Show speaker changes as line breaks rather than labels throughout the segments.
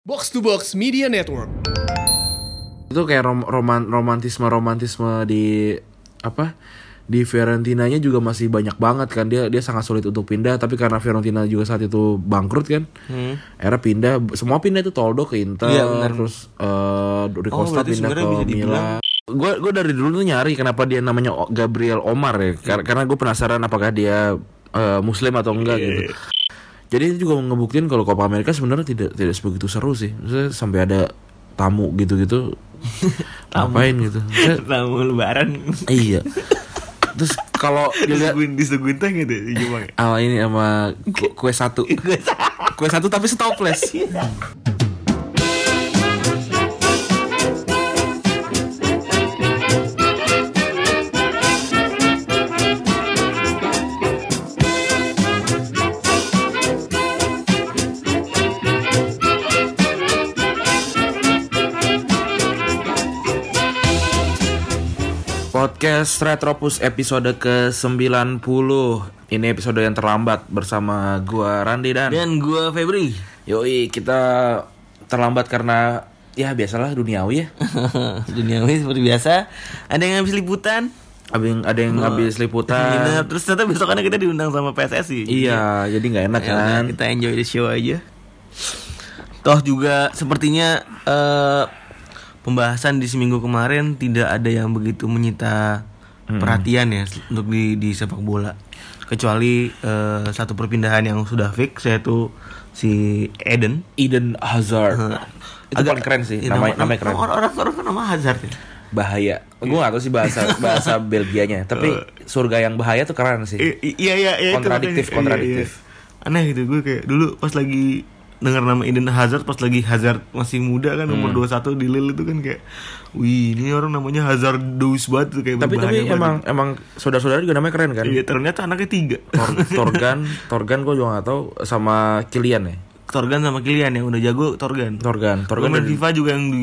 Box to Box Media Network.
itu kayak rom roman romantisme romantisme di apa di Fiorentinanya juga masih banyak banget kan dia dia sangat sulit untuk pindah tapi karena Fiorentina juga saat itu bangkrut kan
Hmm.
era pindah semua pindah itu Toldo ke Inter
Iya, benar.
terus eh
Oh,
Ricosta pindah ke
berarti sebenarnya bisa dibilang
Milan gue gue dari dulu tuh nyari kenapa dia namanya O- Gabriel Omar ya Kar- karena gue penasaran apakah dia eh, Muslim atau enggak gitu jadi itu juga ngebuktiin kalau Copa America sebenarnya tidak tidak sebegitu seru sih Maksudnya sampai ada tamu gitu-gitu ngapain gitu Maksudnya,
tamu lebaran
iya terus kalau dilihat
disuguin disuguin teh gitu ya, di Jepang ya?
sama ini sama ku- kue satu Iya. kue satu tapi stopless Podcast Retropus episode ke-90 Ini episode yang terlambat bersama gua Randi dan
dan gue Febri
Yoi kita terlambat karena ya biasalah duniawi ya
duniawi seperti biasa ada yang habis liputan
Abing, Ada yang habis
Nginep.
liputan
terus ternyata besokannya kita diundang sama PSSI
Iya jadi nggak enak
Ya udah,
kan
kita enjoy the show aja toh juga sepertinya eh, pembahasan di seminggu kemarin tidak ada yang begitu menyita perhatian ya untuk di di sepak bola kecuali eh, satu perpindahan yang sudah fix yaitu si Eden
Eden Hazard Itu paling keren sih
Ya,
namanya, namanya keren
Orang orang orang kan nama Hazard ya.
Bahaya Gue gak tau sih bahasa bahasa Belgianya Tapi surga yang bahaya tuh keren sih
I- i- Iya iya iya itu
Kontradiktif,
makanya. Iya,
kontradiktif.
iya. Aneh gitu gue kayak dulu pas lagi dengar nama Eden Hazard pas lagi Hazard masih muda kan
Hmm.
umur 21 di Lille itu kan kayak wih ini orang namanya Hazardous banget tuh kayak
Tapi
berbahaya
tapi
banget.
emang emang saudara-saudara juga namanya keren kan
iya ternyata anaknya tiga
Tor- Torgan Torgan gue juga gak tau Sama Kilian ya
Torgan sama Kilian yang udah jago Torgan
Torgan Torgan
Torgan
udah,
FIFA juga yang di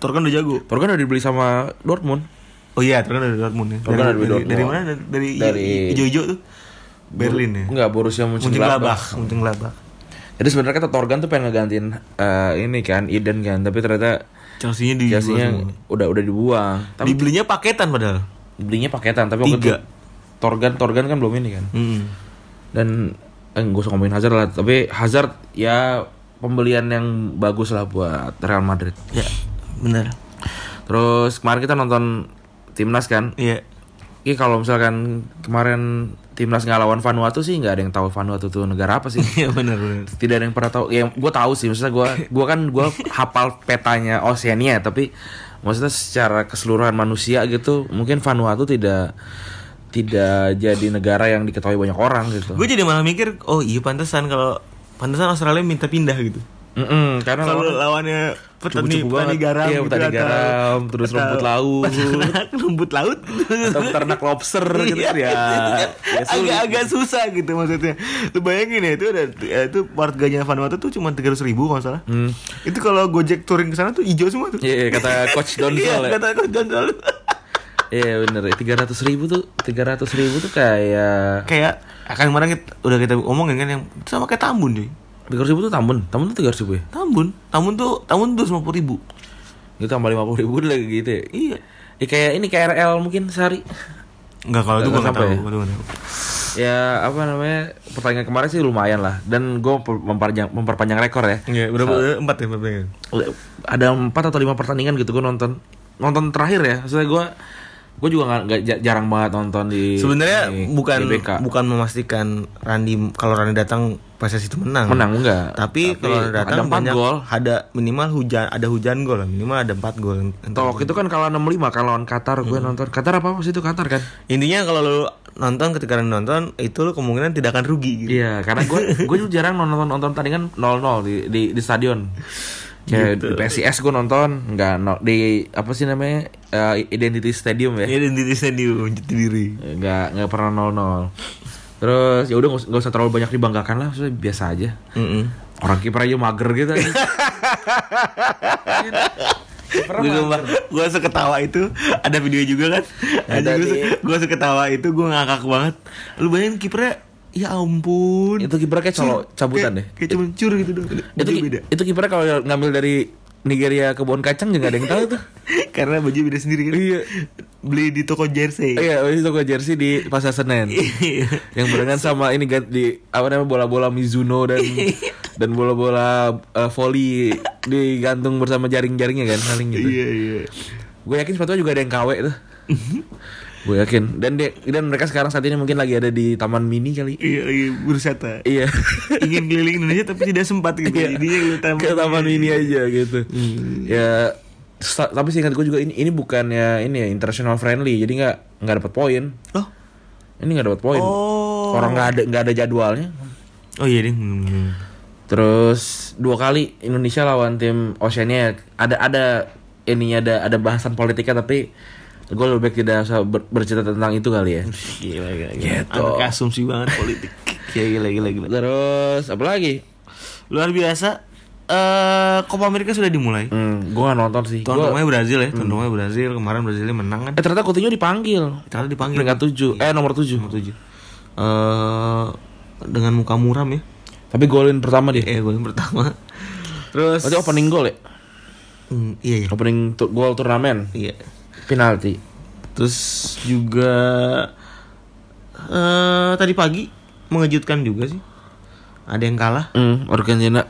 Torgan udah jago
Torgan udah dibeli sama Dortmund
oh iya Torgan dari Dortmund ya
Torgan dari
dari, dari,
Dortmund.
dari mana dari, dari,
Dari-
ijo-ijo tuh Berlin ya
Enggak Borussia Mönchengladbach
Mönchengladbach Mönchengladbach
Jadi sebenarnya kata Torgan tuh pengen ngegantiin eh, ini kan Eden kan, tapi ternyata
Chelsea-nya di
jasinya udah udah dibuang. Tapi
dibelinya paketan padahal
belinya paketan, tapi waktu itu
Tiga.
Torgan Torgan kan belum ini kan.
Mm.
Dan eh, gue usah ngomongin Hazard lah, tapi Hazard ya pembelian yang bagus lah buat Real Madrid.
Ya, benar.
Terus kemarin kita nonton timnas kan.
Iya.
Ini kalau misalkan kemarin timnas nggak lawan Vanuatu sih nggak ada yang tahu Vanuatu tuh negara apa sih.
Iya benar benar.
tidak ada yang pernah tahu ya gue tahu sih maksudnya gue gua kan gue hafal petanya Oceania tapi maksudnya secara keseluruhan manusia gitu mungkin Vanuatu tidak tidak jadi negara yang diketahui banyak orang gitu
Gue jadi malah mikir, oh iya pantesan kalau pantesan Australia minta pindah gitu.
Mm-mm, karena
Kalau
lawan-
lawannya petani
Cupu-cupu
petani
banget.
garam, gitu
Iya, petani garam, terus rumput laut.
peternak rumput laut.
atau peternak lobster gitu kan ya, ya sulit.
agak-agak susah gitu maksudnya. Lu bayangin ya itu ada ya, itu warganya Vanuatu tuh cuma tiga ribu kalau nggak salah. Itu kalau gojek touring ke sana tuh hijau semua tuh.
Iya, Hmm. iya, kata Coach Donsol
Iya,
ya.
kata Coach Donsol.
Iya bener, tiga ratus ribu tuh, tiga ratus ribu tuh kayak
Kayak akan kemarin kita, udah kita omongin kan yang sama kayak Tambun cuy.
tiga ribu tuh Tambun, Tambun tuh tiga ribu ya,
Tambun, Tambun tuh Tambun tuh lima ribu.
gitu tambah lima puluh ribu lagi gitu ya.
Iya.
Ya kayak ini KRL mungkin sehari.
Enggak kalau itu
Nggak
gua nggak
sampai
tahu,
ya?
gua nggak tahu.
Ya apa namanya pertandingan kemarin sih lumayan lah dan gue memperpanjang memperpanjang rekor ya.
Iya, berapa? Empat ya berapa? ya?
Ada empat atau lima pertandingan gitu gue nonton nonton terakhir ya. Maksudnya gue gue juga nggak- nggak ja- jarang banget nonton di
Sebenarnya
di
bukan
GBK.
bukan memastikan Randi kalau Randi datang PSS itu menang.
menang enggak.
Tapi, kalau Randi datang
ada empat
banyak-
gol.
Ada minimal hujan, ada hujan gol lah. Minimal ada empat gol. Entah.
Tolok itu kan kalah 65 kan lawan Qatar gue
Hmm.
nonton. Qatar apa sih itu Qatar kan?
Intinya kalau lu nonton ketika Randi nonton itu lu kemungkinan tidak akan rugi gitu.
Iya, karena gue gue juga jarang nonton nonton tandingan 0-0 di di, di stadion.
Gitu.
Kayak di PSIS gue nonton nggak no- di apa sih namanya eh, Identity Stadium ya
Ini identitasnya Iya, di jati diri.
nggak nggak pernah 0-0 terus ya udah nggak us- nggak usah terlalu banyak dibanggakan lah maksudnya biasa aja
Mm-mm.
orang kiper aja mager gitu aja.
gue sumpah, gue seketawa itu ada video juga kan
Ada
ada gue,
di-
se- gue seketawa itu gue ngakak banget lu bayangin kipernya ya ampun
Itu kipernya kayak colo cabutan deh.
kayak, kayak cuman cur gitu doang
Itu
baju
ki-
beda
itu kipernya kalau ngambil dari Nigeria ke kebun kacang juga gak ada yang tahu tuh.
karena baju beda sendiri kan
Iya.
beli di toko jersey
Iya, habis itu gue jersey di Pasar Senen.
Iya.
yang barengan sama ini gan- di apa namanya bola-bola Mizuno dan dan bola-bola eh, volley digantung bersama jaring-jaringnya kan saling gitu.
iya Mhm. iya
Gue yakin sepatunya juga ada yang KW tuh. Gue yakin. Dan dia- dan mereka sekarang saat ini mungkin lagi ada di Taman Mini kali.
iya iya berwisata
Iya.
ingin keliling Indonesia tapi tidak sempat gitu
Iya.
jadinya ke taman Hmm.
Ke Taman Mini aja gitu. Ya sa- tapi singkat gue juga ini ini bukannya ini ya international friendly. Jadi nggak nggak dapat poin.
oh
Ini nggak dapat poin.
Oh.
Orang nggak ada nggak ada jadwalnya.
oh iya deh Hmm.
Terus dua kali Indonesia lawan tim Oceania ya. ada ada ini ada ada bahasan politiknya tapi gue lebih baik tidak usah ber- bercerita tentang itu kali ya.
gila gila gila
Gitu.
anak asumsi banget politik Iya, gila gila gila, gila.
Terus apa lagi?
luar biasa eh Copa America sudah dimulai
Hmm, gue gak nonton sih.
Tuan
Gua- Hmm.
rumahnya Brazil ya, tuan rumahnya Brazil kemarin Brazilnya menang kan?
eh ternyata Coutinho dipanggil.
Karena dipanggil
Peringkat 7, eh nomor 7.
nomor tujuh. Eh, dengan muka muram ya.
Tapi golin pertama dia.
Eh, gol yang pertama. Terus
Berarti opening goal ya?
Hmm, iya iya.
Opening tu- goal turnamen.
Iya.
Penalti.
Terus juga eh tadi pagi mengejutkan juga sih. Ada yang kalah.
Hmm, Argentina.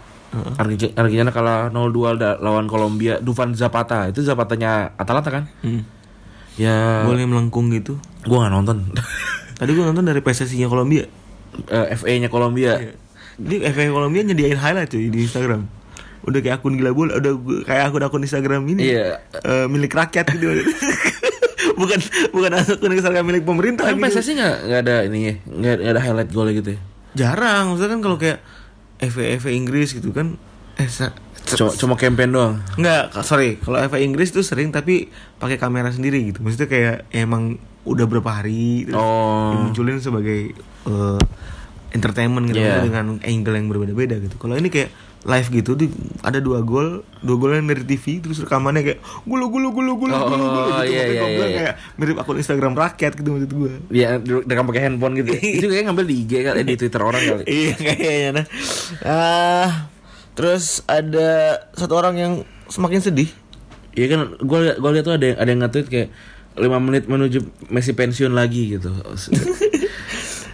Arge- Argentina kalah 0-2 da- lawan Kolombia. Dufan Zapata. Itu Zapatanya Atalanta kan? Ya.
Gol yang melengkung gitu.
Gue gak nonton.
Tadi gua nonton dari PSSI-nya Kolombia.
Eh, FA-nya
Iya.
Kolombia.
Jadi FA Kolombia nyediain highlight cuy di Instagram. Udah kayak akun gila bola, udah gu- kayak akun-akun Instagram ini.
Iya.
Eh, milik rakyat gitu. bukan bukan akun Instagram milik pemerintah
Tapi
gitu.
PSSI gak, gak ada ini ya? Gak, gak ada highlight golnya gitu ya?
Jarang, maksudnya kan kalau kayak FA FA Inggris gitu kan eh sa-
Cuma, cuma campaign doang.
Nggak, k- sorry. Kalau FA Inggris tuh sering tapi pakai kamera sendiri gitu. Maksudnya kayak emang udah berapa hari terus
Oh.
dimunculin sebagai eh, entertainment gitu
Iya.
dengan angle yang berbeda-beda gitu. Kalau ini kayak live gitu di, ada dua gol, dua golnya dari TV terus rekamannya kayak gulu gulu gulu gulu
Oh,
gulu gulu gitu.
iya,
Makanya
iya,
gua bilang
iya.
kayak mirip akun Instagram rakyat gitu maksud gue.
Dia rekam pakai handphone gitu. ya. Itu kayaknya ngambil di IG kali, eh, di Twitter orang kali.
Iya kayaknya nah. Ah, terus ada satu orang yang semakin sedih.
Iya kan, gue gue liat tuh ada yang ada yang nge-tweet kayak 5 menit menuju Messi pensiun lagi gitu.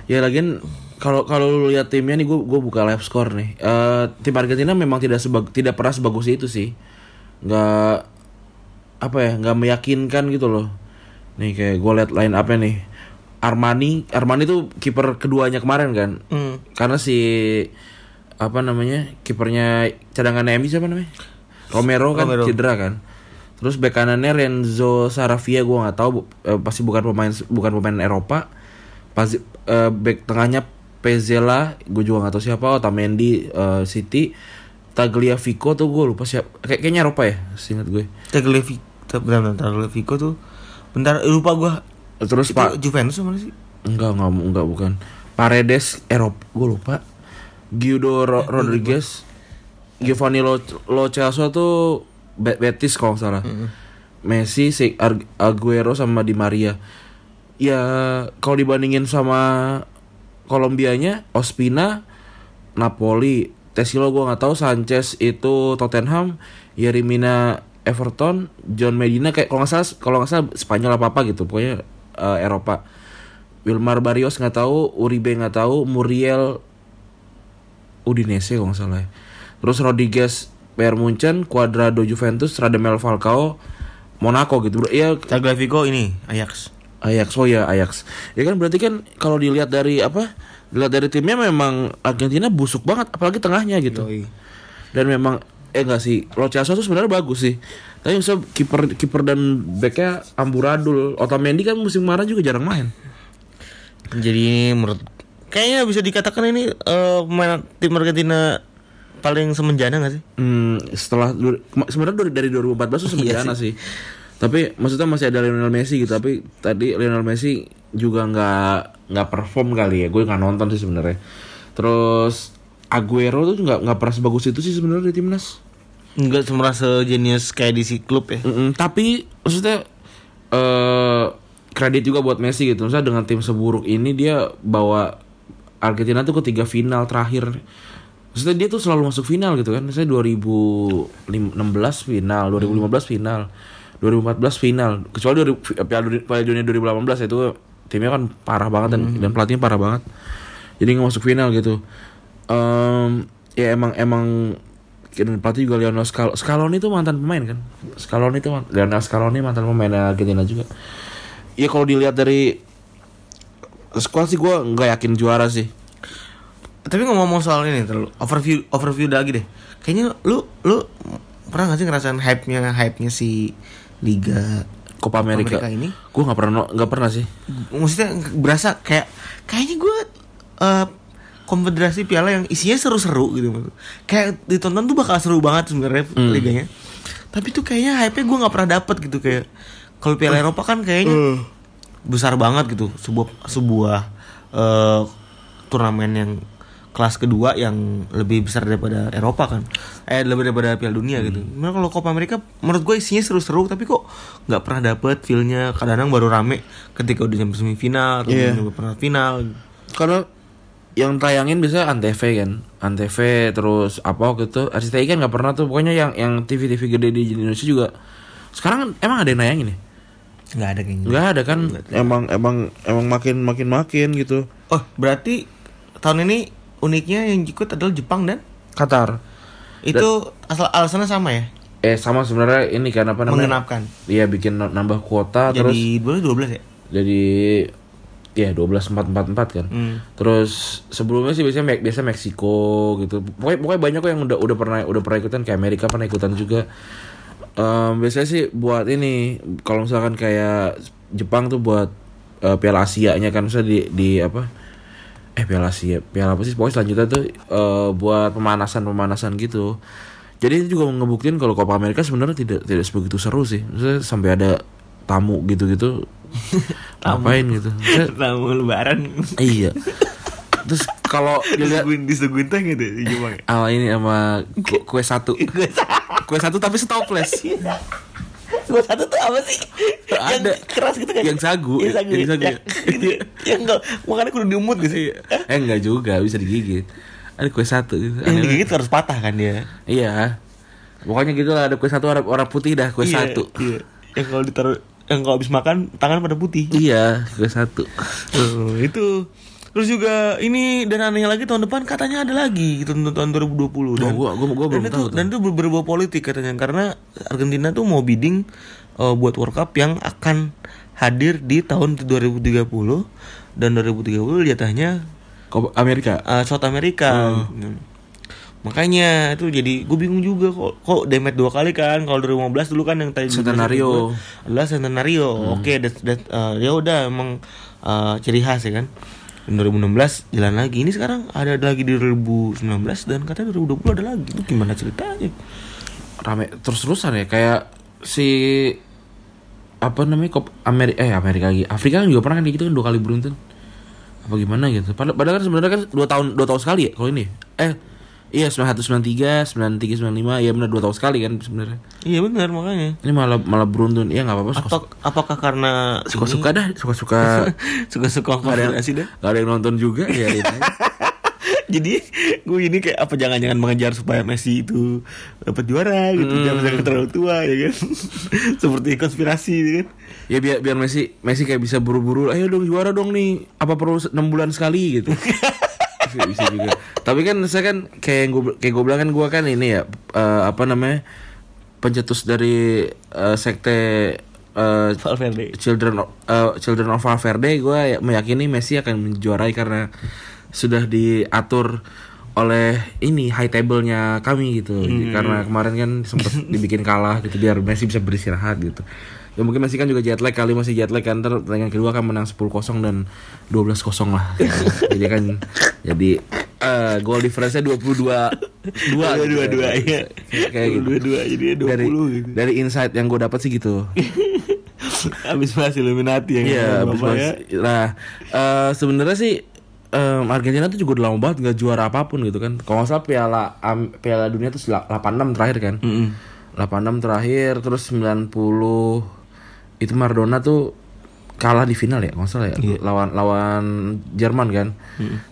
ya lagian kalau kalau lu lihat timnya nih gue gue buka live score nih. Eh tim Argentina memang tidak sebag tidak pernah sebagus itu sih. Nggak apa ya, nggak meyakinkan gitu loh. Nih kayak gue liat line up-nya nih. Armani, Armani tuh kiper keduanya kemarin kan.
Hmm.
Karena si apa namanya? kipernya cadangan MU siapa namanya? Romero kan
Romero.
cedera kan. Terus bek kanannya Renzo Sarafia gua nggak tahu bu- eh, pasti bukan pemain bukan pemain Eropa. Pasti eh, back tengahnya Pezela, gue juga nggak tahu siapa, Otamendi eh, City, Tagliafico tuh gue lupa siapa. Kayak kayaknya Eropa ya, singkat gue.
Tagliafico, bentar, bentar, Tagliafico tuh bentar eh, lupa gua.
Terus
Itu
Pak
Juventus mana sih?
Enggak, enggak, enggak bukan. Paredes Eropa, gue lupa. Guido Ro- Rodriguez, Giovanni Lo, Lo Celso tuh Be- Betis kalau nggak salah. Messi, si Ar- Aguero sama Di Maria. Ya kalau dibandingin sama Kolombianya, Ospina, Napoli, Tesilo gue nggak tahu, Sanchez itu Tottenham, Yerimina Everton, John Medina kayak kalau nggak salah kalau nggak salah Spanyol apa apa gitu, pokoknya eh, Eropa. Wilmar Barrios nggak tahu, Uribe nggak tahu, Muriel Udinese kalau nggak salah. ya. Terus Rodriguez Bayern Munchen, Cuadrado Juventus, Radamel Falcao, Monaco gitu. Bro. Ya
Tagliafico ini Ajax.
Ajax, oh ya Ajax. Ya kan berarti kan kalau dilihat dari apa? Dilihat dari timnya memang Argentina busuk banget, apalagi tengahnya gitu.
Yoi.
Dan memang eh enggak sih, Lo Celso tuh sebenarnya bagus sih. Tapi bisa kiper kiper dan backnya amburadul. Otamendi kan musim kemarin juga jarang main.
Jadi ini menurut kayaknya bisa dikatakan ini eh, pemain tim Argentina paling semenjana gak sih?
Hmm, setelah du- kema- sebenarnya dari dari 2014 tuh sebenarnya sih. Tapi maksudnya masih ada Lionel Messi gitu, tapi tadi Lionel Messi juga nggak nggak perform kali ya. Gue nggak nonton sih sebenarnya. Terus Aguero tuh nggak nggak pernah sebagus itu sih sebenarnya di timnas.
Enggak merasa jenius kayak di si klub ya.
Mm-mm, tapi maksudnya eh kredit juga buat Messi gitu. Maksudnya dengan tim seburuk ini dia bawa Argentina tuh ketiga final terakhir. Maksudnya dia tuh selalu masuk final gitu kan. Saya 2016 final, 2015 final, 2014 final. Kecuali 2000 Piala Dunia- Piala Dunia 2018 itu timnya kan parah banget dan dan pelatihnya parah banget. Jadi nggak masuk final gitu. Em, ya emang emang dan pelatih juga Lionel Scaloni. Scaloni itu mantan pemain kan? Scaloni itu man- Lionel Scaloni mantan pemain Argentina juga. Ya kalau dilihat dari squad sih gue nggak yakin juara sih.
Tapi ngomong-ngomong soal ini terlalu overview overview lagi deh. Kayaknya lu lu pernah gak sih ngerasain hype-nya hype-nya si liga
Copa America.
Amerika ini?
Gue nggak pernah no- nggak pernah sih.
maksudnya berasa kayak kayaknya gue konfederasi piala yang isinya seru-seru gitu maksud. kayak ditonton tuh bakal seru banget sebenarnya liganya tapi tuh kayaknya hype nya gue nggak pernah dapet gitu kayak kalau piala Eropa kan kayaknya besar banget gitu sebuah sebuah eh, turnamen yang kelas kedua yang lebih besar daripada Eropa kan eh lebih daripada Piala Dunia gitu. Nah kalau Copa America menurut gue isinya seru-seru tapi kok nggak pernah dapet feelnya kadang-kadang baru rame ketika udah nyampe semifinal atau
Iya.
nyampe pernah final.
Karena yang tayangin biasanya antv kan, antv terus apa gitu. RCTI kan nggak pernah tuh. Pokoknya yang yang TV TV gede di Indonesia juga. Sekarang emang ada yang nayangin ya?
nggak ada kayaknya.
Nggak ada kan? Emang emang emang makin makin makin gitu.
Oh berarti tahun ini uniknya yang ikut adalah Jepang dan
Qatar.
itu asal alasannya sama ya
Eh sama sebenarnya ini kan apa namanya?
mengenapkan.
Iya bikin no- nambah kuota terus
Jadi boleh 12 ya?
jadi ya 12444 kan.
Hmm.
Terus sebelumnya sih biasanya biasa Meksiko gitu. Pokoknya, pokoknya banyak kok yang udah udah pernah udah pernah ikutan kayak Amerika pernah ikutan juga. Em, biasanya sih buat ini kalau misalkan kayak Jepang tuh buat eh, Piala Asia-nya kan misalnya di di apa? Eh Piala Asia, Piala apa sih? Pokoknya selanjutnya tuh eh, buat pemanasan-pemanasan gitu. Jadi ini juga ngebuktiin kalau Copa America sebenarnya tidak tidak sebegitu seru sih. Maksudnya sampai ada tamu gitu-gitu. Ngapain gitu. Maksudnya-
Tamu lebaran
Iya. Terus kalau dilihat
disuguhin disuguhin teh gitu di Jepang. ya?
ah, ini sama ku- kue satu. Kue satu tapi stopless.
Iya. Gua satu tuh apa sih? Yang
Ada.
keras gitu kan?
Yang sagu,
Yang sagu.
yang sagu ya.
Yang, gitu ya. yang enggak makanya kudu diumut gitu sih.
Eh enggak juga, bisa digigit. Ada kue satu gitu.
Yang
Aneh-
digigit harus patah kan dia.
Iya. Pokoknya gitu lah ada kue satu orang, orang putih dah kue
Iya,
satu.
Iya. Yang kalau ditaruh yang kalau habis makan tangan pada putih.
Iya, kue satu.
Tuh, Oh, itu. Terus juga ini dan anehnya lagi tahun depan katanya ada lagi gitu tahun 2020
Oh,
dan
gua- gua- gua
dan
belum
itu
tahu tuh.
dan itu ber- berbau politik katanya karena Argentina tuh mau bidding eh, buat World Cup yang akan hadir di tahun 2030 dan 2030 jatahnya
Kok Amerika?
eh South America. Hmm. Makanya itu jadi gue bingung juga kok kok demet dua kali kan kalau 2015 dulu kan yang tadi juga
Centenario.
sebut gua adalah centenario. Oke, that- that- eh, ya udah emang eh, ciri khas ya kan. Dan 2016 jalan lagi. Ini sekarang ada ada lagi di 2019 dan katanya 2020 ada lagi. Itu gimana ceritanya?
rame terus-terusan ya kayak si apa namanya kop Amerika eh Amerika lagi Afrika kan juga pernah kan kayak gitu kan dua kali beruntun apa gimana gitu padahal, padahal kan sebenarnya kan dua tahun dua tahun sekali ya kalau ini eh iya sembilan satu sembilan tiga sembilan tiga sembilan lima ya benar dua tahun sekali kan sebenarnya
Iya benar makanya.
ini malah malah beruntun ya nggak apa-apa suka
Atau apakah karena
suka, suka dah suka suka
suka-suka konfederasi dah?
nggak ada yang nonton juga ya ini
jadi gue ini kayak apa jangan-jangan mengejar supaya Messi itu dapat juara gitu jangan jangan terlalu tua ya kan seperti konspirasi gitu kan
ya biar biar Messi Messi kayak bisa buru-buru ayo dong juara dong nih apa perlu 6 bulan sekali gitu Bisa- bisa juga tapi kan saya kan kayak yang gue kayak gue bilang kan gue kan ini ya eh, apa namanya pencetus dari eh, sekte eh,
Valverde
Children of, eh, Children of Valverde gue ya- meyakini Messi akan menjuarai karena sudah diatur oleh ini high table-nya kami gitu. Jadi
Hmm.
Karena kemarin kan sempat dibikin kalah gitu biar Messi bisa beristirahat gitu. Ya mungkin Messi kan juga jet lag kali masih jet lag kan Ntar pertandingan kedua akan menang 10-0 dan 12-0 lah. jadi kan jadi eh gol difference-nya 22 2
dua dua dua dua
gitu.
ya
Kayak- kayak gitu.
dua dua jadi dua
Dari
puluh gitu
dari insight yang gue dapat sih gitu.
abis bahas Illuminati yang
Iya,
ngomong
abis
apa ya
mas- Nah, eh, sebenarnya sih em, Argentina tuh juga udah lama banget nggak juara apapun gitu kan. Kalau nggak salah Piala Am- Piala Dunia tuh sel- 86 terakhir kan.
Hmm.
86 terakhir, terus 90 itu Maradona tuh kalah di final ya kalau nggak salah ya
Iya.
lawan lawan Jerman kan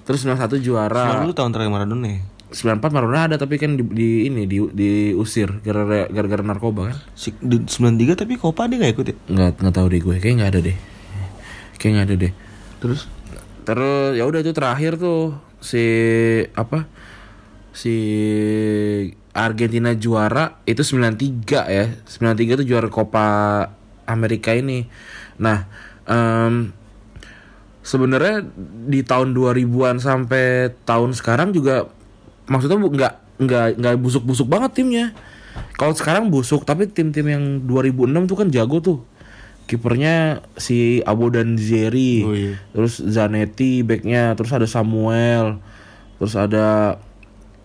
terus 91 juara
Maradona Nah, tahun terakhir Maradona ya.
94 Maradona ada tapi kan di, di ini di diusir gara-gara gara-gara narkoba kan
Si- di- 93 tapi Copa dia gak ikut ya.
nggak nggak tahu deh gue kayak nggak ada deh kayak nggak ada deh
Terus
terus ya udah itu terakhir tuh si apa si Argentina juara itu 93 ya 93 tuh juara Copa Amerika ini nah em sebenarnya di tahun 2000-an sampai tahun sekarang juga maksudnya bu- nggak nggak nggak busuk-busuk banget timnya. Kalau sekarang busuk tapi tim-tim yang 2006 tuh kan jago tuh. Kipernya si Abo dan Zeri,
Oh, iya.
terus Zanetti backnya, terus ada Samuel, terus ada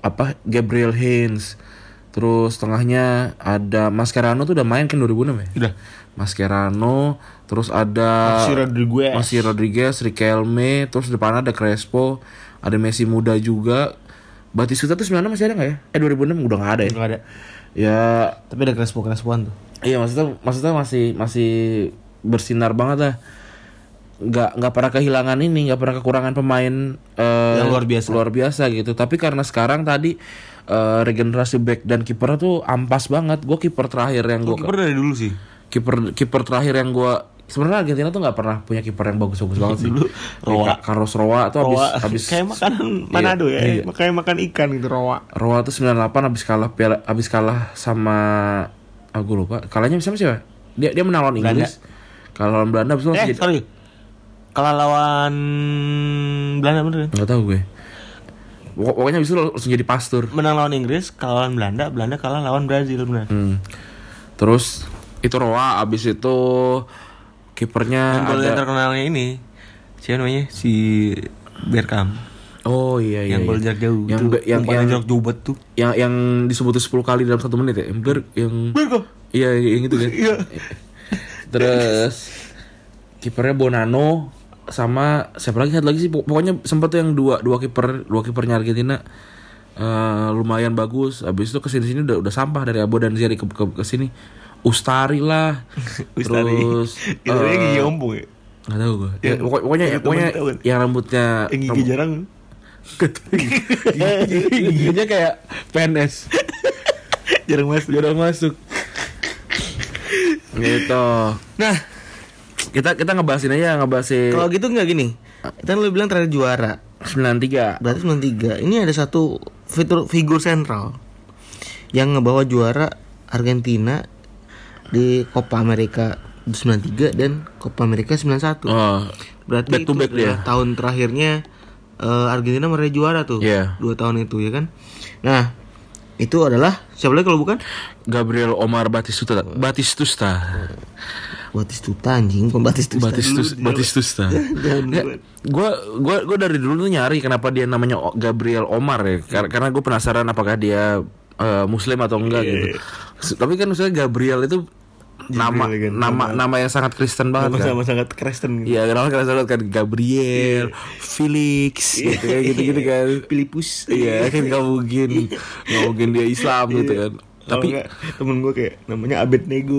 apa Gabriel Hines, terus tengahnya ada Mascherano tuh udah main kan 2006 ya?
udah.
Mascherano, terus ada
Si Rodriguez.
masih Rodriguez, Riquelme, terus depan ada Crespo, ada Messi muda juga. Batistuta tuh 96 masih ada nggak ya? Eh 2006 udah nggak ada ya?
Nggak ada.
Ya,
Tapi ada Crespo Crespoan tuh.
iya maksudnya maksudnya masih masih bersinar banget lah. Nggak nggak pernah kehilangan ini, nggak pernah kekurangan pemain eh,
Yang luar biasa.
luar biasa gitu. Tapi karena sekarang tadi eh, regenerasi back dan kiper tuh ampas banget. Gue kiper terakhir yang gue
Kiper dari dulu sih.
kiper kiper terakhir yang gua sebenarnya Argentina tuh nggak pernah punya kiper yang bagus-bagus banget sih.
Dulu,
Roa,
Roa.
Carlos Roa tuh habis
Roa
habis
kayak makanan Manado
Iya,
ya,
iya.
kayak makan ikan gitu Roa.
Roa tuh 98 habis kalah piala habis kalah sama ah gua lupa. Kalahnya sama siapa? Dia dia menang lawan
Belanda.
Inggris. Kalau lawan Belanda habis itu langsung
Eh,
jadi
sorry. Kalah lawan Belanda bener kan?
nggak tahu gue. Pokok- Pokoknya habis itu langsung jadi pastur.
Menang lawan Inggris, kalah lawan Belanda, Belanda kalah lawan Brazil bener.
Hmm. Terus itu Roa habis itu kipernya
Gol yang
ada
terkenalnya ini siapa namanya? Si Bergkamp.
Oh iya iya. iya.
yang gol jarak jauh.
Yang
tuh,
be- yang
umpannya
yang
jarak jauh banget tuh.
yang yang disebutin 10 kali dalam satu menit ya yang ber yang
Bergkamp.
iya yang itu kan
Iya.
terus kipernya Bonano sama siapa lagi satu lagi sih Pok- pokoknya sempat tuh yang dua dua kiper dua kipernya Argentina eh, lumayan bagus abis itu kesini sini udah udah sampah dari Abo dan Zeri ke, ke, ke sini Ustari lah
Ustari.
terus
Itu yang gigi
eh,
ompong ya.
nggak tahu gue ya,
Yang-
pokok- pokoknya
yang temen
pokoknya
tahu kan?
yang rambutnya
Yang gigi
rambut-
jarang.
giginya kayak PNS
jarang masuk.
jarang masuk gitu
Nah,
kita kita ngebahasin aja ngebahasin
kalau gitu nggak gini. Kan lu bilang terakhir juara.
93
Berarti 93 Ini ada satu fitur figur sentral Yang ngebawa juara Argentina Di Copa America 93 dan Copa America 91
oh
Berarti
back to
itu
back dia.
adalah tahun terakhirnya eh, Argentina meraih juara tuh
Iya.
Dua tahun itu ya kan Nah itu adalah siapa lagi kalau bukan
Gabriel Omar Batistuta Batistusta
Batistuta anjing bukan Batistuta
Batistus
dulu.
Batistusta
Jangan
Nggak,
buat.
gua gua gua dari dulu tuh nyari kenapa dia namanya O- Gabriel Omar ya Kar- karena gue penasaran apakah dia eh, muslim atau enggak gitu Se- tapi kan maksudnya Gabriel itu nama
Gabriel kan,
nama nama yang sangat Kristen banget kan
Sama-sama sangat Kristen gitu.
Iya, kenal kenal banget kan Gabriel,
Iya.
Felix, gitu kan gitu gitu kan.
Filipus
Iya, kan nggak mungkin, nggak mungkin dia Islam
Iya.
gitu kan.
Tapi
Tapi
temen gue kayak namanya Abednego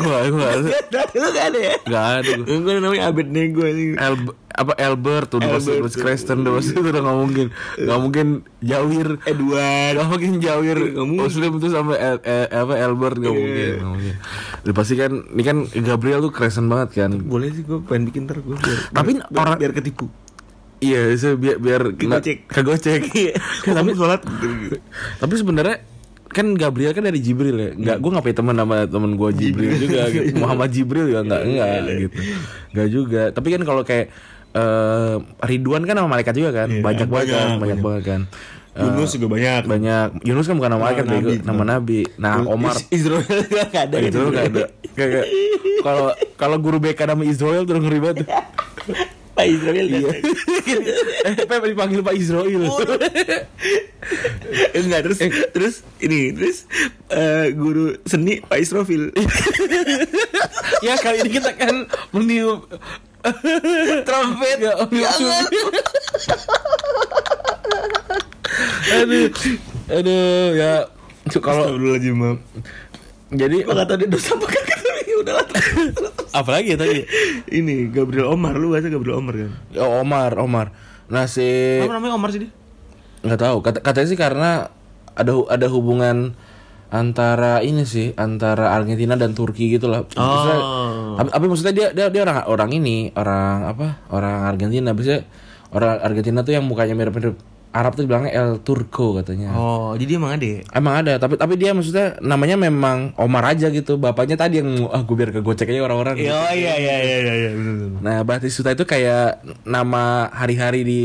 gua gua
Lu gak ada ya?
nggak ada. gua.
Gue namanya Abednego anjing
El, apa Albert tuh udah
Albert
masuk
tuh.
Kristen udah masuk itu udah nggak mungkin nggak mungkin Jawir eh,
Edward
nggak mungkin Jawir
Nggak mungkin. Iya.
Muslim tuh sama El, El- apa Albert nggak mungkin nggak mungkin Udah pasti kan ini kan Gabriel tuh Kristen banget kan
Boleh sih gue pengen bikin ntar gue biar,
Tapi
biar,
orang-
biar ketipu
iya saya biar biar nggak-
Kegocek.
kegocek
Kan tapi sholat gitu.
Tapi sebenarnya kan Gabriel kan dari Jibril ya. Enggak, gua enggak punya teman sama temen gua Jibril juga gitu. Muhammad Jibril juga enggak enggak
Iya,
gitu. Enggak juga. Tapi kan kalau kayak eh, Ridwan kan nama malaikat juga kan. banyak banget kan,
Iya, banyak,
banyak, banget kan. Eh,
Yunus juga banyak
banyak Yunus kan bukan nama malaikat
Nama
bego.
nabi.
nama nabi. Nah, Omar Eh,
Is- Israel gak ada
itu
gitu.
enggak ada. Kayak kalau kalau guru BK nama Israel terus ngeri banget.
Pak Ah, Israel gak ada
eh, Pep dipanggil Pak Israel.
Oh, iya. Enggak terus Terus ini Terus eh, guru seni Pak Israfil
ya kali ini kita kan meniup trompet ya, jangan aduh aduh ya Su- kalau
Astagfirullahaladzim maaf Ya
jadi
Gue gak tau dia dosa apa kagak Tapi Udah lah terus, terus, terus.
apalagi ya tadi?
Ini Gabriel Omar lu bahasa Gabriel Omar kan?
Oh, Omar, Omar. Nah si
Apa namanya Omar sih dia?
nggak tahu. Kata katanya sih karena ada hu- ada hubungan antara ini sih antara Argentina dan Turki gitu lah. Maksudnya-
Oh.
Tapi, tapi maksudnya dia, dia dia orang orang ini orang apa orang Argentina. Biasanya orang Argentina tuh yang mukanya mirip-mirip Arab tuh bilangnya El Turco katanya.
Oh, jadi emang ada ya?
Emang ada, tapi tapi dia maksudnya namanya memang Omar aja gitu. Bapaknya tadi yang ah gue biar kegocek aja orang-orang. gitu.
Oh iya iya iya iya iya benar
Nah, Batistuta itu kayak nama hari-hari di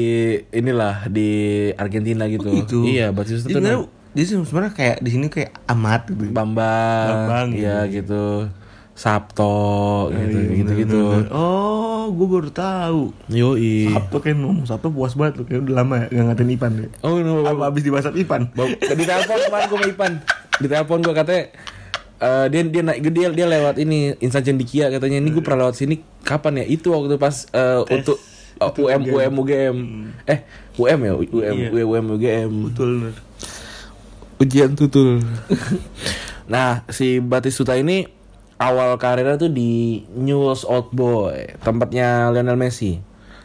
inilah di Argentina gitu.
Itu.
Iya, Batistuta itu
Jadi Oh, sebenarnya
nama-
jadi sebenarnya kayak di sini kayak amat gitu.
Bambang,
Bambang,
iya gitu. Sabto gitu gitu. gitu.
Oh, gue baru tahu.
Yoi.
Sabtu kan ngomong Sabtu puas banget lu kayak udah lama ya gak ngatain Ipan deh.
Oh, no.
Apa abis di WhatsApp Ipan?
di telepon kemarin gue sama Ipan. Di telepon gue katanya eh, dia dia naik dia dia lewat ini insan cendikia katanya ini gue pernah lewat sini kapan ya itu waktu pas eh, untuk eh, UM UM UGM eh UM ya UM UM UGM
Betul bener.
ujian tutul. nah, si Batistuta ini awal karirnya tuh di Newell's Old Boy, tempatnya Lionel Messi.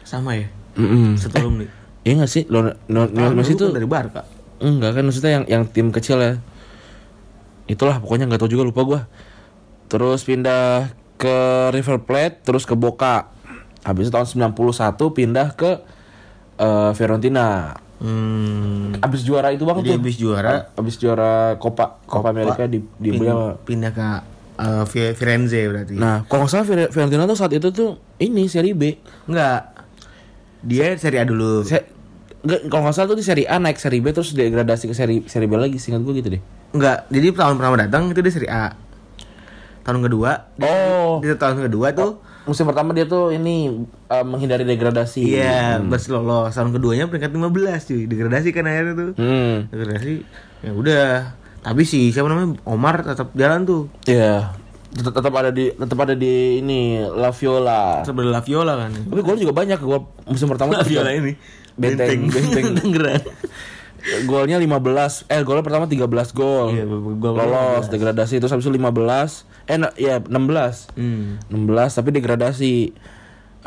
Sama ya?
Mm-mm.
Sebelum nih.
Iya gak sih? Lionel, Lionel-
Eh,
Lionel Messi tuh
dari Barca.
enggak kan maksudnya yang yang tim kecil ya. Itulah pokoknya nggak tahu juga lupa gua. Terus pindah ke River Plate, terus ke Boca. Habis itu tahun 91 pindah ke eh, Fiorentina.
Hmm.
Abis juara itu banget
Jadi
tuh.
abis juara
Abis juara Copa Copa America di di
pin-
beliau.
pindah ke eh, Fi- Firenze berarti.
Nah, kalau nggak salah Fiore- Fiorentina tuh saat itu tuh ini seri B.
Enggak. Dia Serie A dulu.
Se- nggak- kalau nggak salah tuh di seri A naik seri B terus degradasi ke seri seri B lagi, singkat gue gitu deh.
Enggak. Jadi tahun pertama datang itu dia Serie A. Tahun kedua. dia-
Oh.
Dia tahun kedua tuh
Musim pertama dia tuh ini eh, menghindari degradasi.
Iya, masih lolos. Tahun keduanya peringkat 15 cuy. Degradasi kan akhirnya tuh.
Hmm.
Degradasi. Ya udah. Tapi si siapa namanya Omar tetap jalan tuh.
Iya. Tet- Tetap ada di tetap ada di ini La Viola.
Tetap ada La Viola kan.
Tapi gol juga banyak gol musim pertama
La
tuh
Viola
tiga-
ini.
Benteng, benteng.
Tangerang.
golnya 15 eh golnya pertama 13 gol
Iya, gol pertama
lolos degradasi terus habis itu 15 eh na- ya 16
Hmm.
16 tapi degradasi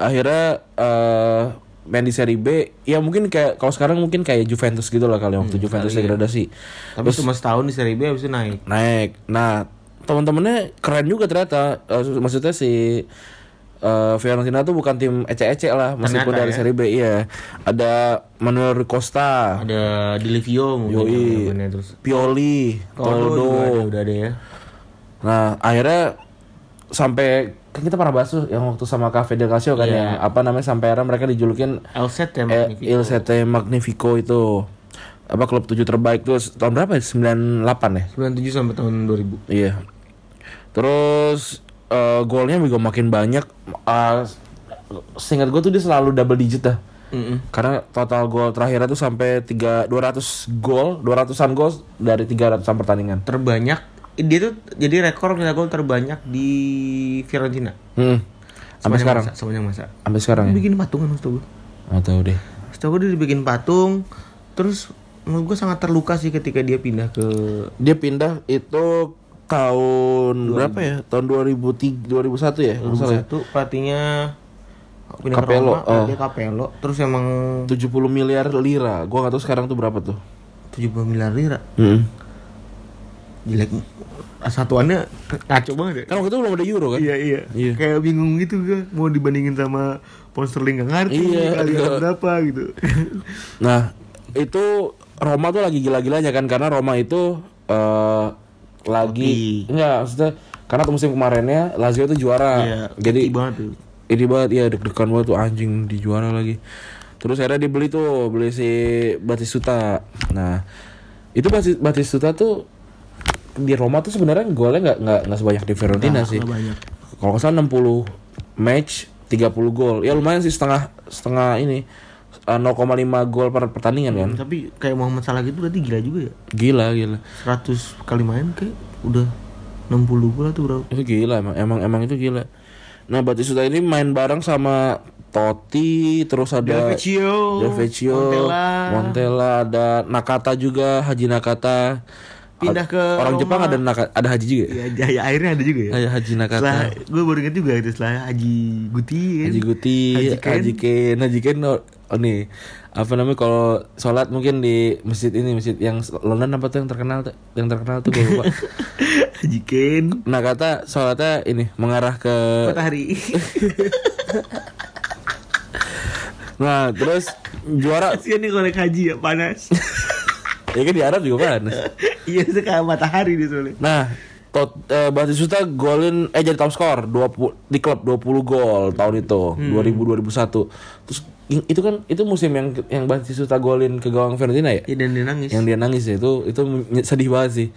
akhirnya eh main di seri B ya mungkin kayak kalau sekarang mungkin kayak Juventus gitu lah kali waktu Juventus degradasi
Hmm, ya. Tapi cuma setahun di Serie B habis itu naik.
naik nah teman-temannya keren juga ternyata Eh, maksudnya si eh, Fiorentina tuh bukan tim ece-ece lah meskipun
Ternyata
dari
ya.
seri B iya ada Manuel Costa
Ada Di Livio mungkin
Yoi.
jawabannya. terus.
Pioli,
Toldo juga ada,
Toldo.
udah ada ya.
Nah, akhirnya sampai kan kita pernah bahas tuh yang waktu sama Cafe del Calcio kan ya. Apa namanya sampai akhirnya mereka dijulukin
Elset ya
eh,
Magnifico.
Il Sette Magnifico itu. Apa klub tujuh terbaik tuh tahun berapa ya? 98 ya?
97 sampai tahun 2000.
Iya. Terus eh, golnya juga makin banyak. Eh, seingat gue tuh dia selalu double digit dah.
Mm-mm.
Karena total gol terakhirnya tuh sampai 3 200 gol, 200-an gol dari 300-an pertandingan.
Terbanyak dia tuh jadi rekor kita gol terbanyak di Fiorentina.
Hmm. Sampai
Sepanjang
sekarang.
masa- Sepanjang masa.
Sampai sekarang ya?
bikin patungan setahu gue
Nggak tahu deh.
setahu gue dia dibikin patung terus menurut gue sangat terluka sih ketika dia pindah ke
Dia pindah itu tahun berapa ya? Tahun 2003 2001 ya? Kalau nggak salah ya?
satu pelatihnya pindah
Capello,
ke Roma
oh.
dia Capello terus emang
70 miliar lira. Gua nggak tahu sekarang tuh berapa tuh.
70 miliar lira
Heeh.
jelek satuannya kacau banget ya
Kan waktu itu belum ada euro kan?
iya iya
Iya.
kayak bingung gitu gue mau dibandingin sama pound sterling gak ngerti
Iya,
kali
iya.
berapa gitu
Nah, itu Roma tuh lagi gila-gilanya kan karena Roma itu eh lagi enggak maksudnya karena tuh musim kemarinnya Lazio tuh juara.
jadi
Ah, Jadi
Iya, banget tuh
ini banget ya deg-degan banget tuh anjing di juara lagi terus akhirnya dibeli tuh beli si Batistuta nah itu Bati- Batistuta tuh di Roma tuh sebenarnya golnya nggak nggak nggak sebanyak di Fiorentina sih
nggak banyak.
kalau nggak salah 60 match 30 gol ya lumayan sih setengah setengah ini eh, 0,5 gol per pertandingan kan
tapi kayak Muhammad Salah gitu berarti gila juga ya
gila gila
100 kali main kayak udah 60 bola tuh berapa
itu gila emang emang emang itu gila nah Batistuta ini main bareng sama Totti terus ada
Vecchio
Del Vecchio, Montella. ada Nakata juga, Haji Nakata,
pindah ke
orang
Roma.
Jepang ada naka- ada haji juga ya?
Iya, ya, akhirnya ada juga ya.
Ada Haji Nakata.
Setelah gue baru inget juga itu setelah Haji Guti. kan?
Haji Guti,
Haji Ken.
Haji Ken, Haji Ken oh, oh nih apa namanya kalau sholat mungkin di masjid ini masjid yang London apa tuh yang terkenal tuh yang terkenal tuh gue lupa.
Haji Ken.
Nah kata sholatnya ini mengarah ke
Matahari.
nah terus juara
Kasihan nih kalau naik haji ya panas.
ya kan di Arab juga panas.
Iya itu kayak matahari dia soalnya.
Nah, tot, eh, Batistuta golin eh jadi top skor 20 di klub 20 gol tahun itu 2000 2001. Terus i- itu kan itu musim yang yang Batistuta golin ke gawang Fiorentina ya?
Iya dan dia nangis.
Yang dia nangis ya itu itu menye- sedih banget sih.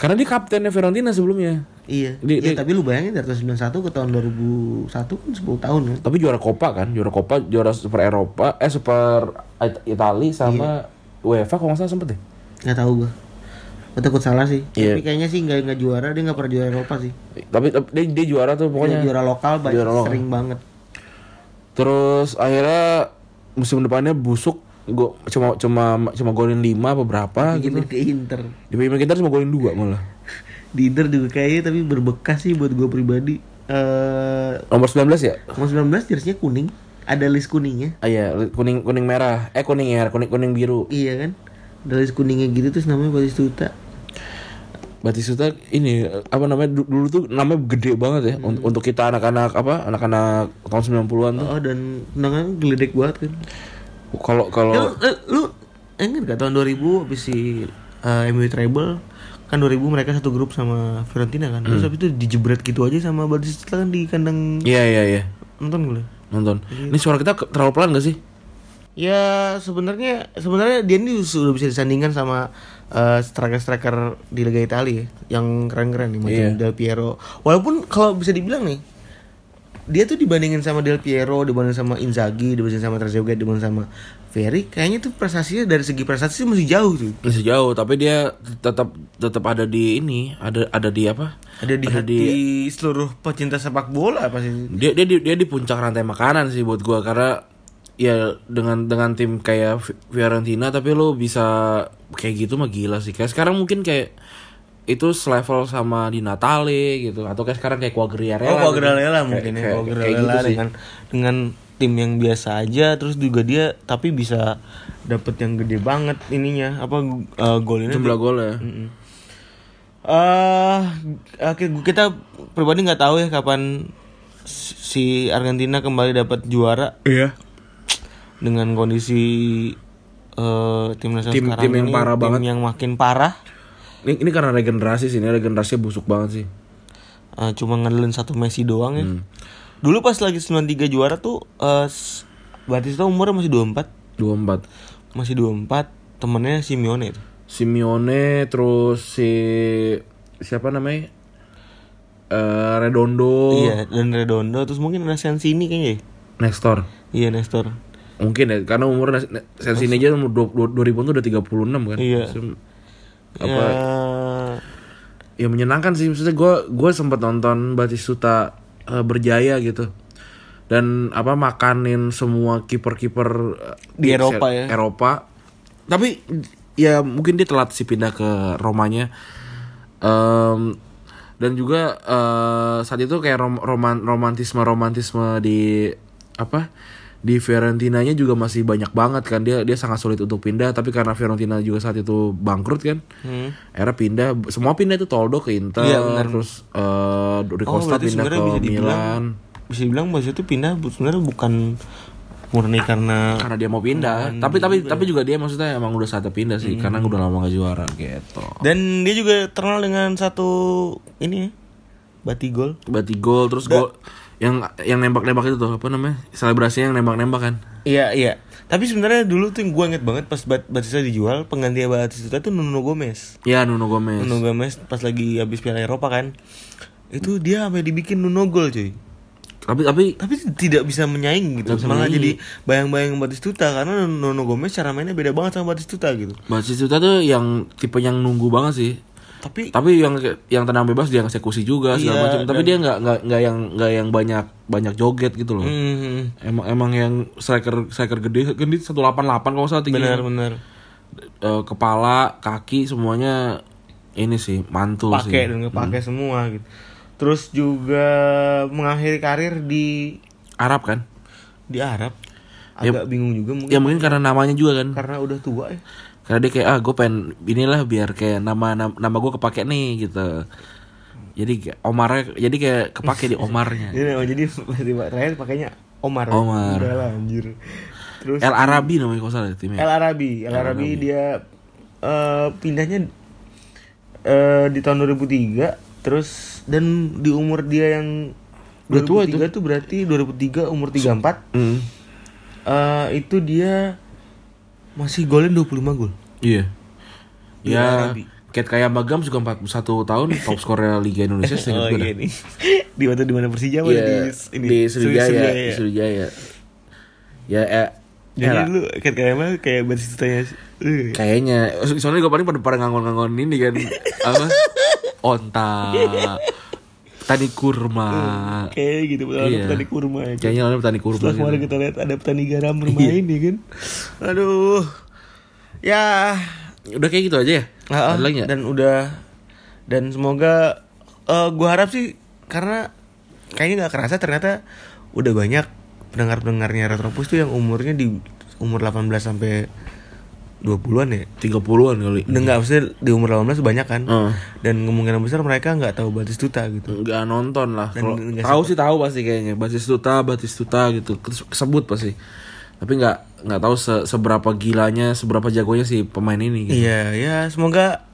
Karena dia kaptennya Fiorentina sebelumnya.
Iya.
Di- di-
Iya, tapi lu bayangin dari tahun 91 ke tahun 2001 kan 10 tahun kan.
Tapi juara Copa kan, juara Copa, juara Super Eropa, eh Super It- Itali sama UEFA kalau nggak salah sempet deh.
Gak tau gue. Gue takut salah sih.
Iya.
Tapi kayaknya sih nggak nggak juara dia nggak pernah juara Eropa sih.
Tapi, tapi dia, dia juara tuh pokoknya.
Pokoknya juara lokal banyak
Juara lokal.
sering banget.
Terus akhirnya musim depannya busuk gua cuma cuma cuma golin 5 apa berapa gitu.
Pindah ke Inter.
Di Premier kita cuma golin 2 malah.
Di Inter juga kayaknya tapi berbekas sih buat gue pribadi. Eh
Nomor 19 ya?
nomor 19 jersey kuning. Ada list kuningnya.
Ah iya, kuning kuning merah. Eh kuning ya, kuning kuning biru.
Iya kan? Ada list kuningnya gitu terus namanya Batistuta.
Batistuta ini apa namanya du- dulu tuh namanya gede banget ya
Hmm.
Un- untuk kita anak-anak apa anak-anak tahun 90-an tuh.
Oh dan tendangan geledek banget kan.
Kalau
Lu,
kalau
lu, lu ingat gak tahun 2000 habis si eh, MU Treble kan 2000 mereka satu grup sama Fiorentina kan. Terus habis itu dijebret gitu aja sama Batistuta kan di kandang
Hmm. iya iya iya
nonton gue.
nonton.
Iya.
Ini suara kita ke- terlalu pelan gak sih?
Ya sebenarnya sebenarnya dia ini sudah bisa disandingkan sama eh, striker-striker di Liga Italia ya, yang keren-keren nih macam
Iya.
Del Piero. Walaupun kalau bisa dibilang nih dia tuh dibandingin sama Del Piero, dibandingin sama Inzaghi, dibandingin sama Trezeguet, dibandingin sama Ferry, kayaknya tuh prestasinya dari segi prestasi sih masih jauh tuh.
Masih jauh tapi dia tetap tetap ada di ini, ada ada di apa?
Ada di hati seluruh pecinta sepak bola pasti.
dia dia di- dia di puncak rantai makanan sih buat gua karena ya dengan dengan tim kayak Fi- Fiorentina tapi lo bisa kayak gitu mah gila sih kayak sekarang mungkin kayak itu selevel sama di Natale gitu atau kayak sekarang kayak Quagliarella
Oh,
gitu.
Quagliarella
Kayak-
mungkin ya. kan.
kayak,
Quagliarella
kayak gitu sih
dengan dengan tim yang biasa aja terus juga dia tapi bisa dapet yang gede banget ininya apa uh, golnya
jumlah ya. golnya
eh akhir kita pribadi nggak tahu ya kapan si Argentina kembali dapat juara
iya
dengan kondisi eh timnas
Tim-
sekarang
tim yang
ini,
parah
tim
banget.
yang makin parah
ini, ini karena regenerasi sih ini regenerasinya busuk banget sih
Eh, cuma ngandelin satu Messi doang ya
Hmm.
dulu pas lagi 93 juara tuh eh s- Batista umurnya masih 24
dua empat
masih 24 temennya Simeone itu
Simeone terus si siapa namanya Eh, Redondo
iya dan Redondo terus mungkin ada Sensini kayaknya ya.
Nestor
iya Nestor
Mungkin ya, karena umur Nas- Na- Sensini aja umur 2000 2000 tuh udah 36 kan.
Iya.
Maksudnya,
apa
Ya menyenangkan sih maksudnya gua gua sempat nonton Batistuta eh, berjaya gitu. Dan apa makanin semua kiper-kiper eh,
Di Eropa ya.
Eropa. Tapi ya mungkin dia telat sih pindah ke Romanya. Em, dan juga eh, saat itu kayak rom- roman romantisme romantisme di apa di Fiorentinanya juga masih banyak banget kan dia dia sangat sulit untuk pindah tapi karena Fiorentina juga saat itu bangkrut kan
Hmm.
era pindah semua pindah itu Toldo ke Inter
Iya, benar.
terus eh Rui
oh
Costa
berarti
pindah ke
sebenarnya bisa dibilang
Milan
bisa dibilang Batistuta itu pindah bu- sebenarnya bukan murni karena
karena dia mau pindah
Hmm,
tapi tapi
iya.
tapi juga dia maksudnya emang udah saatnya pindah sih karena udah lama gak juara gitu
dan dia juga terkenal dengan satu ini ya, batigol
Bati gol terus gol yang yang nembak-nembak itu tuh apa namanya selebrasinya yang nembak-nembak kan
Iya iya. Tapi sebenarnya dulu tuh yang gue inget banget pas Bat- Batista dijual pengganti Batista tuh Nuno Gomez.
ya Nuno Gomez
Nuno Gomez pas lagi habis Piala Eropa kan. Itu dia sampai dibikin Nuno gol cuy.
tapi tapi
Tapi tidak bisa menyaing gitu.
Nggak bisa
Malah
menyaing.
jadi bayang-bayang Batistuta karena Nuno Gomez cara mainnya beda banget sama Batistuta gitu.
Batistuta tuh yang tipe yang nunggu banget sih
Tapi
tapi yang yang tenang bebas dia eksekusi juga segala
Iya,
macam tapi dia nggak nggak nggak yang nggak yang banyak banyak joget gitu loh
hmm,
emang emang yang striker striker gede kan dia 188 Iya. kalau nggak salah tinggi
benar benar.
Eh, kepala kaki semuanya ini sih mantul
pakai
sih. Hmm.
dan kepake semua gitu. Terus juga mengakhiri karir di
Arab kan?
di Arab.
Ya,
Agak bingung juga mungkin
Ya mungkin karena namanya juga kan.
karena udah tua ya.
Karena dia kayak ah gue pengen inilah biar kayak nama nama, nama gue kepake nih gitu. Jadi kayak Omarnya jadi kayak kepake di Omarnya.
Ini nama jadi tiba terakhir pakainya Omar.
Omar.
Udah lah anjir. Terus
El Arabi namanya kalau salah ya, timnya.
El Arabi, El Arabi dia eh, pindahnya eh, di tahun 2003 terus dan di umur dia yang 2003
Udah tua
itu. tuh berarti 2003 umur 34
Hmm.
eh, itu dia masih golin 25 gol.
Iya.
El
Ya
Arabi.
Cat kayak Bagam juga 41 tahun top skornya Liga Indonesia
Oh,
seingat gue dah.
nih. di waktu di mana Persija apa
Iya,
di ini
di Sriwijaya,
Sriwijaya. iya.
di Sriwijaya. Ya, eh,
Jadi
ya,
lu kayak kayak apa, kayak Batista tanya eh,
kayaknya soalnya gue paling pada pada nganggon-nganggon ini kan apa? Onta, tani kurma.
kayak gitu petani
Iya.
petani kurma ya.
Kayaknya lalu petani kurma.
Setelah
gitu.
kemarin kita lihat ada petani garam bermain ya kan. Aduh. Ya.
Udah kayak gitu aja ya.
Ah, ah,
Ada lagi nggak?
dan udah dan semoga eh gua harap sih karena kayaknya nggak kerasa ternyata udah banyak pendengar-pendengarnya Retropus tuh yang umurnya di umur 18 sampai 20-an ya.
30-an kali.
Enggak, maksudnya di umur 18 banyak kan.
Heeh.
Dan kemungkinan besar mereka nggak tahu Batistuta gitu.
Nggak nonton lah.
Dan
Kalau
nggak
tahu sih tahu pasti kayaknya. Batistuta, Batistuta gitu. Kes- Kesebut pasti. Tapi nggak nggak tahu se- seberapa gilanya, seberapa jagonya si pemain ini. Gitu.
Iya, ya semoga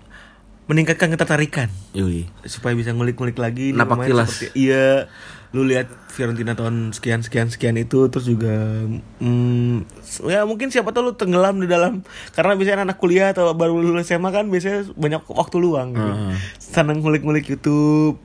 meningkatkan ketertarikan
Yoi.
supaya bisa ngulik-ngulik lagi nih
Napak
pemain
tilas.
seperti- iya lu lihat Fiorentina tahun sekian sekian sekian itu terus juga mm, ya mungkin siapa tahu lu tenggelam di dalam karena biasanya anak kuliah atau baru lulus SMA kan biasanya banyak waktu luang gitu. seneng ngulik-ngulik YouTube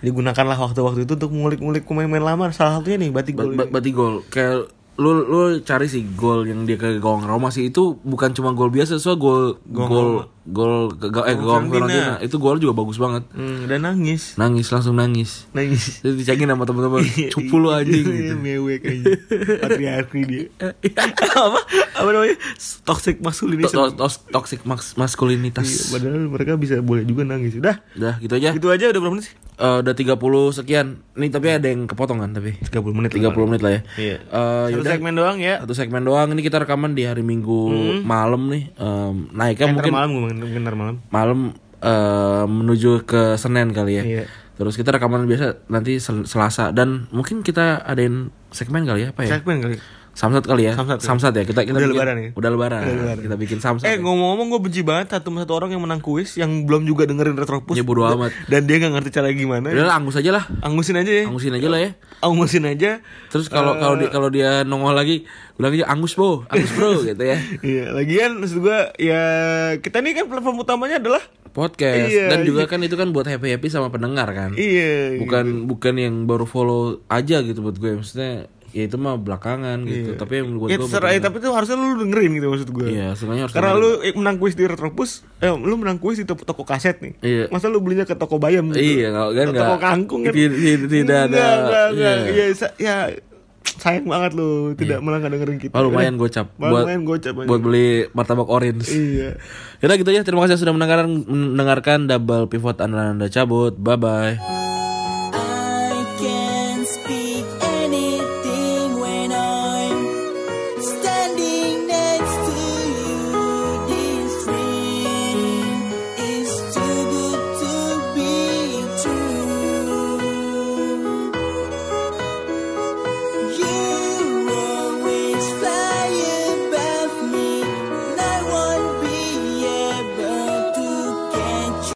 digunakanlah waktu-waktu itu untuk ngulik-ngulik pemain-pemain lama salah satunya nih batik
Ba-
gol
ba-
ini.
berarti gol kayak lu lu cari sih gol yang dia ke gawang Roma sih itu bukan cuma gol biasa soal gol gol gol ke ga- eh gawang Fiorentina itu gol juga bagus banget
Hmm, dan nangis
nangis langsung nangis
nangis
terus dicengin sama teman-teman cupu lu anjing
Iya,
gitu
mewek aja patriarki dia apa apa namanya toxic masculinity
To- to- tos- toxic mas-
Iya,
maskulinitas
padahal mereka bisa boleh juga nangis. Udah,
udah gitu aja
gitu aja udah berapa menit sih?
Eh, udah 30 sekian nih tapi ada yang kepotongan tapi
30 menit.
30 menit lah ya
Iya.
Eh,
Satu
yaudah.
segmen Hmm. doang ya.
satu segmen doang ini kita rekaman di hari Minggu malam nih Em, naiknya
Eh, Ntar
Ya, mungkin
malam gue mungkin ntar malam.
malam eh, menuju ke Senin kali ya.
Iya.
Terus kita rekaman biasa nanti Sel- Selasa dan mungkin kita adain segmen kali ya apa ya?
Segmen kali.
Samsat kali ya.
Samsat, ya.
ya. Kita kita
Udah
bikin-
lebaran ya?
Udah lebaran.
Udah lebaran.
Kita bikin samsat. ya.
Eh ngomong-ngomong gue benci banget satu satu orang yang menang kuis yang belum juga dengerin retropus.
Ya, bodo amat. Ya.
Dan dia nggak ngerti cara gimana.
Udah lah, angus aja lah.
Angusin aja ya.
Angusin aja lah ya.
Angusin aja.
Terus kalau
Eh.
kalau di- kalau dia nongol lagi, bilang aja angus bo, angus bro gitu ya.
Iya, lagian maksud gue ya kita ini kan platform utamanya adalah
Podcast
Iya,
dan juga kan itu kan buat happy happy sama pendengar kan.
iya
bukan bukan yang baru follow aja gitu buat gue maksudnya ya itu mah belakangan gitu tapi yang buat
Ya,
gue
terserah, ya, tapi itu harusnya lu dengerin gitu maksud gue.
Iya, sebenarnya harus
Karena lu eh, menang kuis di Retropus, eh, lu menang kuis di toko, toko kaset nih.
Iya.
Masa lu belinya ke toko bayam gitu?
Iya, kalau kan
Atau
nggak-
toko kangkung kan?
ti- ti- tidak ada-
Nggak, nggak, nggak.
iya.
Iya, sa- ya, sayang banget lu tidak malah nggak dengerin kita.
Wah, Oh, lumayan gocap
Malah
buat
lumayan gocap aja.
buat beli martabak orange. Ya
Iya.
Yaudah gitu aja terima kasih sudah mendengarkan mendengarkan double pivot andalan Anda cabut. Bye bye.